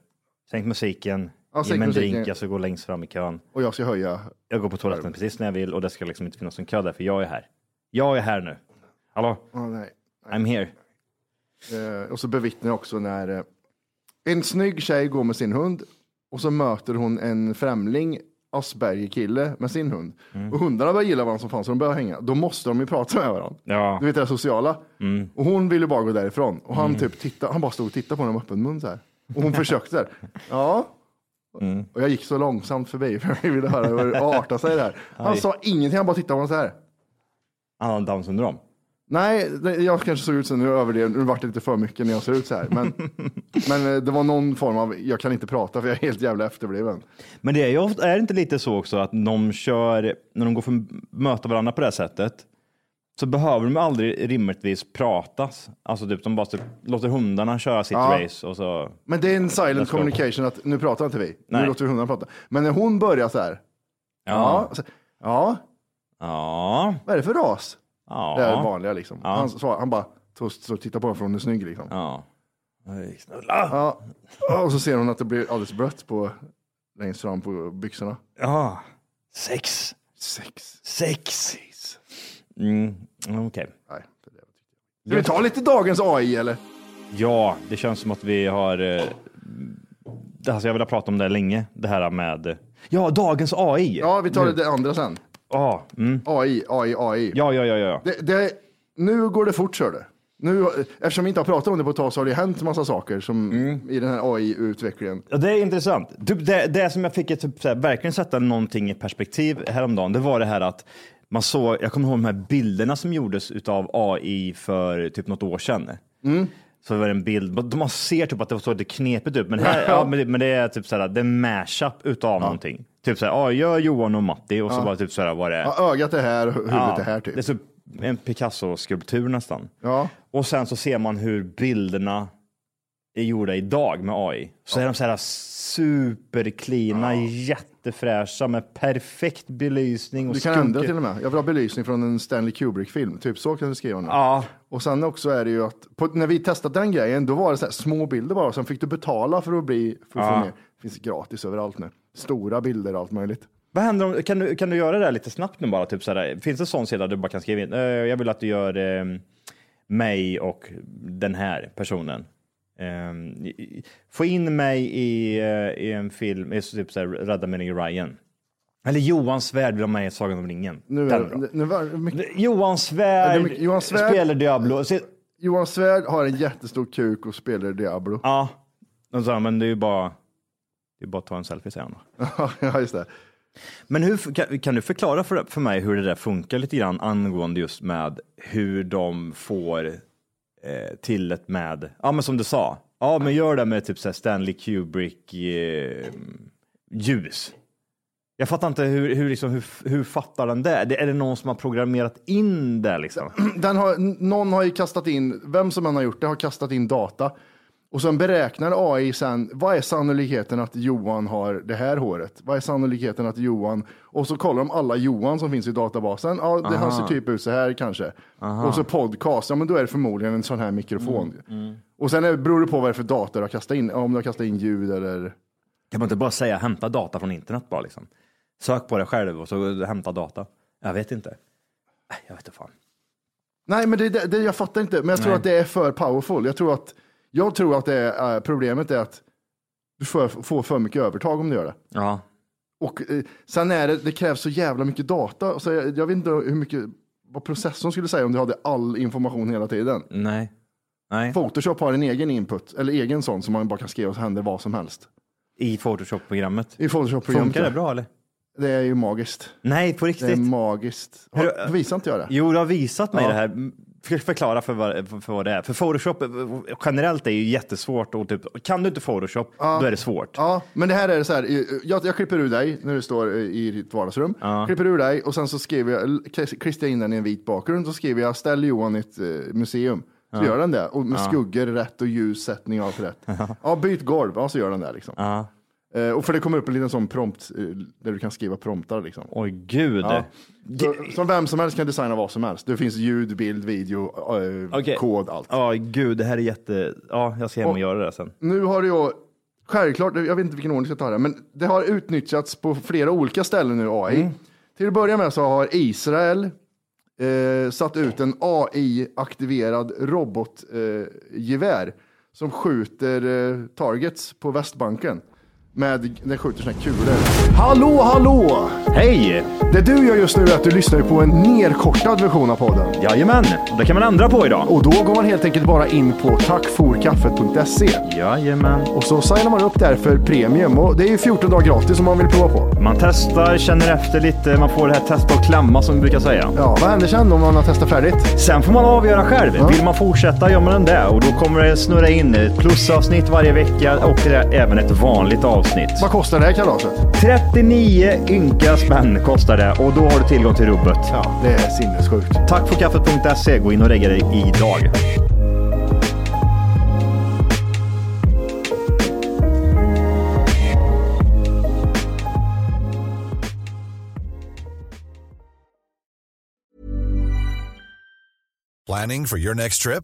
Speaker 1: Sänk musiken,
Speaker 2: Ja,
Speaker 1: ge
Speaker 2: sänk
Speaker 1: mig en
Speaker 2: musiken.
Speaker 1: drink, jag ska gå längst fram i kön.
Speaker 2: och jag ska höja.
Speaker 1: Jag går på toaletten precis när jag vill och det ska liksom inte finnas någon kö där, för jag är här. Jag är här nu. Hallå,
Speaker 2: Åh, nej.
Speaker 1: I'm here.
Speaker 2: Eh, och så bevittnar jag också när eh, en snygg tjej går med sin hund och så möter hon en främling, Asperger-kille, med sin hund.
Speaker 1: Mm.
Speaker 2: Och hundarna börjar gilla varandra som fan, så de börjar hänga. Då måste de ju prata med varandra.
Speaker 1: Ja,
Speaker 2: Du vet det här sociala.
Speaker 1: Mm.
Speaker 2: Och hon ville bara gå därifrån. Och han typ tittade, han bara stod och tittade på henne med öppen mun så här. Och hon försökte
Speaker 1: [LAUGHS]
Speaker 2: så här. Ja.
Speaker 1: Mm.
Speaker 2: Och jag gick så långsamt förbi för jag ville höra hur det artade sig det här. Han
Speaker 1: Aj.
Speaker 2: sa ingenting, han bara tittade på honom så här.
Speaker 1: han har Downs syndrom.
Speaker 2: Nej, det- jag kanske såg ut så nu överdrev, nu vart det lite för mycket när jag såg ut så här.
Speaker 1: [LAUGHS]
Speaker 2: Men, men eh, det var någon form av, jag kan inte prata för jag är helt jävla efterbliven.
Speaker 1: Men det är ju ofta, är det inte lite så också att de kör, när de går för att möta varandra på det här sättet, så behöver de aldrig rimligtvis pratas. Alltså typ, de bara typ, låter hundarna köra sitt
Speaker 2: Ja.
Speaker 1: race och så.
Speaker 2: Men det är en
Speaker 1: Let's
Speaker 2: silent
Speaker 1: go.
Speaker 2: communication att nu pratar inte vi,
Speaker 1: Nej.
Speaker 2: nu låter vi hundarna prata. Men när hon börjar så här, ja,
Speaker 1: Ja.
Speaker 2: så- ja
Speaker 1: Ja.
Speaker 2: vad är det för ras?
Speaker 1: Ja.
Speaker 2: Det är vanliga liksom.
Speaker 1: Ja.
Speaker 2: Han, svar, han bara så, så tittar på honom för hon är snygg liksom. Ja.
Speaker 1: Ja. Oj, Knulla!
Speaker 2: Och så ser hon att det blir alldeles blött på, längst fram på byxorna.
Speaker 1: Ja. Sex.
Speaker 2: Sex.
Speaker 1: Sex. Mm, okej.
Speaker 2: Nej. det är det. Ska vi ta lite dagens AI eller?
Speaker 1: Ja, det känns som att vi har... Eh, alltså jag vill ha pratat om det här länge, det här med... Ja, dagens AI!
Speaker 2: Ja, vi tar
Speaker 1: Nu.
Speaker 2: det andra sen.
Speaker 1: Ja, mm.
Speaker 2: AI, AI, AI.
Speaker 1: ja, ja, ja, ja.
Speaker 2: Det, det, nu går det fort, kör det. Nu, eftersom vi inte har pratat om det på ett tag så har det hänt massa saker som,
Speaker 1: Mm.
Speaker 2: i den här AI-utvecklingen.
Speaker 1: Ja, det är intressant. Typ det, det som jag fick att typ, så här, verkligen sätta någonting i perspektiv häromdagen, det var det här att man såg, jag kommer ihåg de här bilderna som gjordes utav AI för typ något år sedan. Mm. Så det var en bild, man ser typ att det såg lite knepigt ut, men, här, [LAUGHS] ja, men, det, men det är typ så här, det är en mashup utav någonting. Typ så här, ja, gör Johan och Matti och så bara typ så här var det.
Speaker 2: Ja, ögat är här, huvudet är här typ.
Speaker 1: Det är så en Picasso-skulptur nästan.
Speaker 2: Ja.
Speaker 1: Och sen så ser man hur bilderna är gjorda idag med AI. Så är de så här supercleana, jättefräscha med perfekt belysning och
Speaker 2: Du kan
Speaker 1: skunke-
Speaker 2: ändra till och med. Jag vill ha belysning från en Stanley Kubrick-film. Typ så kan du skriva nu.
Speaker 1: Ja.
Speaker 2: Och sen också är det ju att på, när vi testade den grejen, då var det så här små bilder bara. Sen fick du betala för att bli, för att
Speaker 1: Ja.
Speaker 2: få mer. Det finns gratis överallt nu. Stora bilder och allt möjligt.
Speaker 1: Vad händer om, kan, du, kan du göra det här lite snabbt nu bara? Typ så här, finns det en sån sida där du bara kan skriva in, eh, jag vill att du gör eh, mig och den här personen. Eh, i- i- få in mig i, eh, i en film, i typ så här, Rädda meningen Ryan. Eller Johan Svärd vill ha med i Sagan om ringen.
Speaker 2: Nu
Speaker 1: Den
Speaker 2: är,
Speaker 1: då.
Speaker 2: nu var, det mycket,
Speaker 1: Johan
Speaker 2: Ja, det är
Speaker 1: Svärd,
Speaker 2: mycket- Johan Svärd-
Speaker 1: spelar Diablo. Så,
Speaker 2: Johan Svärd har en jättestor kuk och spelar Diablo. [LAUGHS]
Speaker 1: ja, de sa, men det är ju bara, det är bara att ta en selfie säger han. då.
Speaker 2: ja, just det.
Speaker 1: Men hur, kan, kan du förklara för, för mig hur det där funkar lite grann angående just med hur de får eh, till ett med, ja men som du sa, ja men gör det med typ så här Stanley Kubrick eh, ljus. Jag fattar inte hur, hur, liksom, hur, hur fattar den det? det? Är det någon som har programmerat in det liksom?
Speaker 2: den har, n- någon har ju kastat in, vem som än har gjort det, har kastat in data. Och sen beräknar AI sen, vad är sannolikheten att Johan har det här håret? Vad är sannolikheten att Johan... Och så kollar de alla Johan som finns i databasen. Ja, det, han ser
Speaker 1: Aha.
Speaker 2: typ ut så här kanske.
Speaker 1: Aha. Mm,
Speaker 2: Och så podcast, ja men då är det förmodligen en sån här mikrofon. Och sen är, beror det på vad det är för data du har kastat in. Om du har kastat in ljud eller...
Speaker 1: Kan man inte bara säga hämta data från internet bara liksom? Sök på det själv och så hämta data. Jag vet inte. Nej, Jag vet inte fan.
Speaker 2: Nej, men det, det, det, jag fattar inte. Men jag tror
Speaker 1: Nej.
Speaker 2: att det är för powerful. Jag tror att, jag tror att det är, eh, problemet är att du får, får för mycket övertag om du gör det.
Speaker 1: Ja,
Speaker 2: Och eh, sen är det, det krävs så jävla mycket data. Så jag, jag vet inte hur mycket, vad processorn skulle säga om du hade all information hela tiden.
Speaker 1: nej. nej.
Speaker 2: Photoshop har en egen input, eller egen sån som man bara kan skriva och så händer vad som helst.
Speaker 1: I Photoshop-programmet.
Speaker 2: I Photoshop-programmet.
Speaker 1: Funkar det
Speaker 2: ja.
Speaker 1: bra eller?
Speaker 2: Det är ju magiskt.
Speaker 1: Nej, på
Speaker 2: Det är
Speaker 1: riktigt.
Speaker 2: magiskt.
Speaker 1: Hur-
Speaker 2: Har, visar inte jag det?
Speaker 1: Jo, du har visat mig
Speaker 2: Ja.
Speaker 1: det här. För- Förklara för vad, för- för vad det är. För Photoshop eh, generellt är ju jättesvårt. Och typ, kan du inte Photoshop, då är det svårt.
Speaker 2: Ja, men det här är så här. eh, Jag, jag klipper ur dig när du står eh, i ditt vardagsrum. Klipper ur dig och sen så skriver jag, l- klistrar jag in den i en vit bakgrund. Så skriver jag ställ Johan i ett eh, museum. Så gör den det. Och med skuggor rätt och ljussättning och allt rätt.
Speaker 1: [LAUGHS]
Speaker 2: Ja, byt golv. Ja, så gör den det liksom.
Speaker 1: Ja.
Speaker 2: Eh, och för det kommer upp en liten sån prompt eh, där du kan skriva promptar liksom.
Speaker 1: Oj, gud.
Speaker 2: Ja. Så, som vem som helst kan designa vad som helst. Det finns ljud, bild, video, eh,
Speaker 1: Okej.
Speaker 2: kod, allt.
Speaker 1: Ja, gud, det här är jätte... Ja, jag ska hem och göra det här sen.
Speaker 2: Nu har det ju, självklart, jag vet inte vilken ordning jag ska ta det, men det har utnyttjats på flera olika ställen nu, AI. Till att börja med så har Israel eh, satt ut en AI-aktiverad robotgevär eh, gevär som skjuter eh, targets på Västbanken. Med, den skjuter såna här kulor. Hallå, hallå!
Speaker 1: Hej!
Speaker 2: Det du gör just nu är att du lyssnar på en nedkortad version av podden.
Speaker 1: Jajamän, det kan man ändra på idag.
Speaker 2: Och då går man helt enkelt bara in på tackforkaffet.se.
Speaker 1: Jajamän.
Speaker 2: Och så signar man upp där för premium och det är ju 14 dagar gratis om man vill prova på.
Speaker 1: Man testar, känner efter lite, man får det här testa och klämma som vi brukar säga.
Speaker 2: Ja, vad händer sen om man har testat färdigt?
Speaker 1: Sen får man avgöra själv. Vill man fortsätta gör man det och då kommer det snurra in ett plusavsnitt varje vecka och det är även ett vanligt avsnitt.
Speaker 2: Vad kostar det här kalaset?
Speaker 1: 39 ynka spänn kostar det och då har du tillgång till rubbet.
Speaker 2: Ja, det är sinnessjukt.
Speaker 1: Tack för kaffet.se. E. Gå in och lägg dig idag.
Speaker 9: Planning for your next trip?